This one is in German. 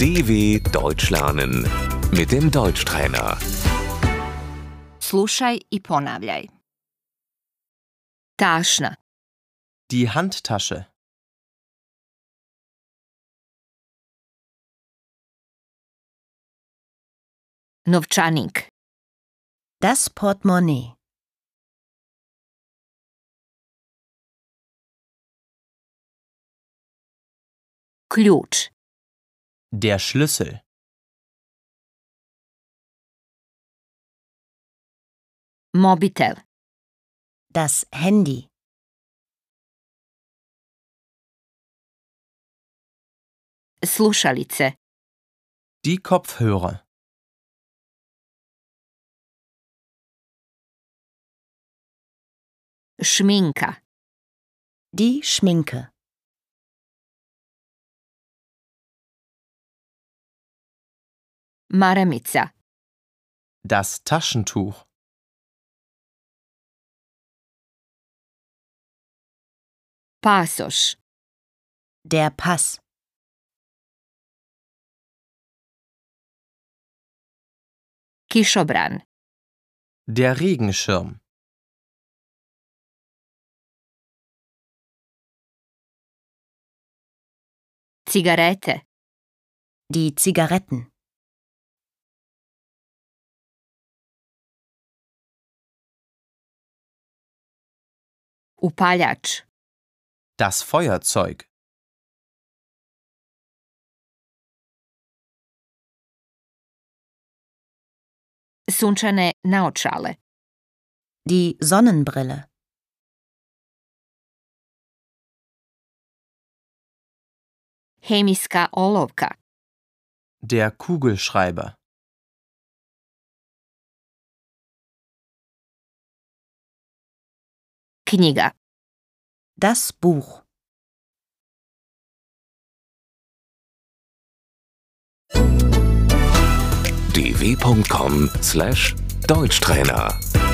DW Deutsch lernen mit dem Deutschtrainer. Slušaj i ponavljaj. Tašna, Die Handtasche. novčanik, Das Portemonnaie. ključ, Der Schlüssel. mobitel, Das Handy. slušalice, Die Kopfhörer. šminka, Die Schminke. maramica, Das Taschentuch. pasoš, Der Pass. kišobran, Der Regenschirm. cigarete, Die Zigaretten. upaljač, Das Feuerzeug. sunčane naočale, Die Sonnenbrille. hemijska olovka, Der Kugelschreiber. knjiga, Das Buch. dw.com/deutschtrainer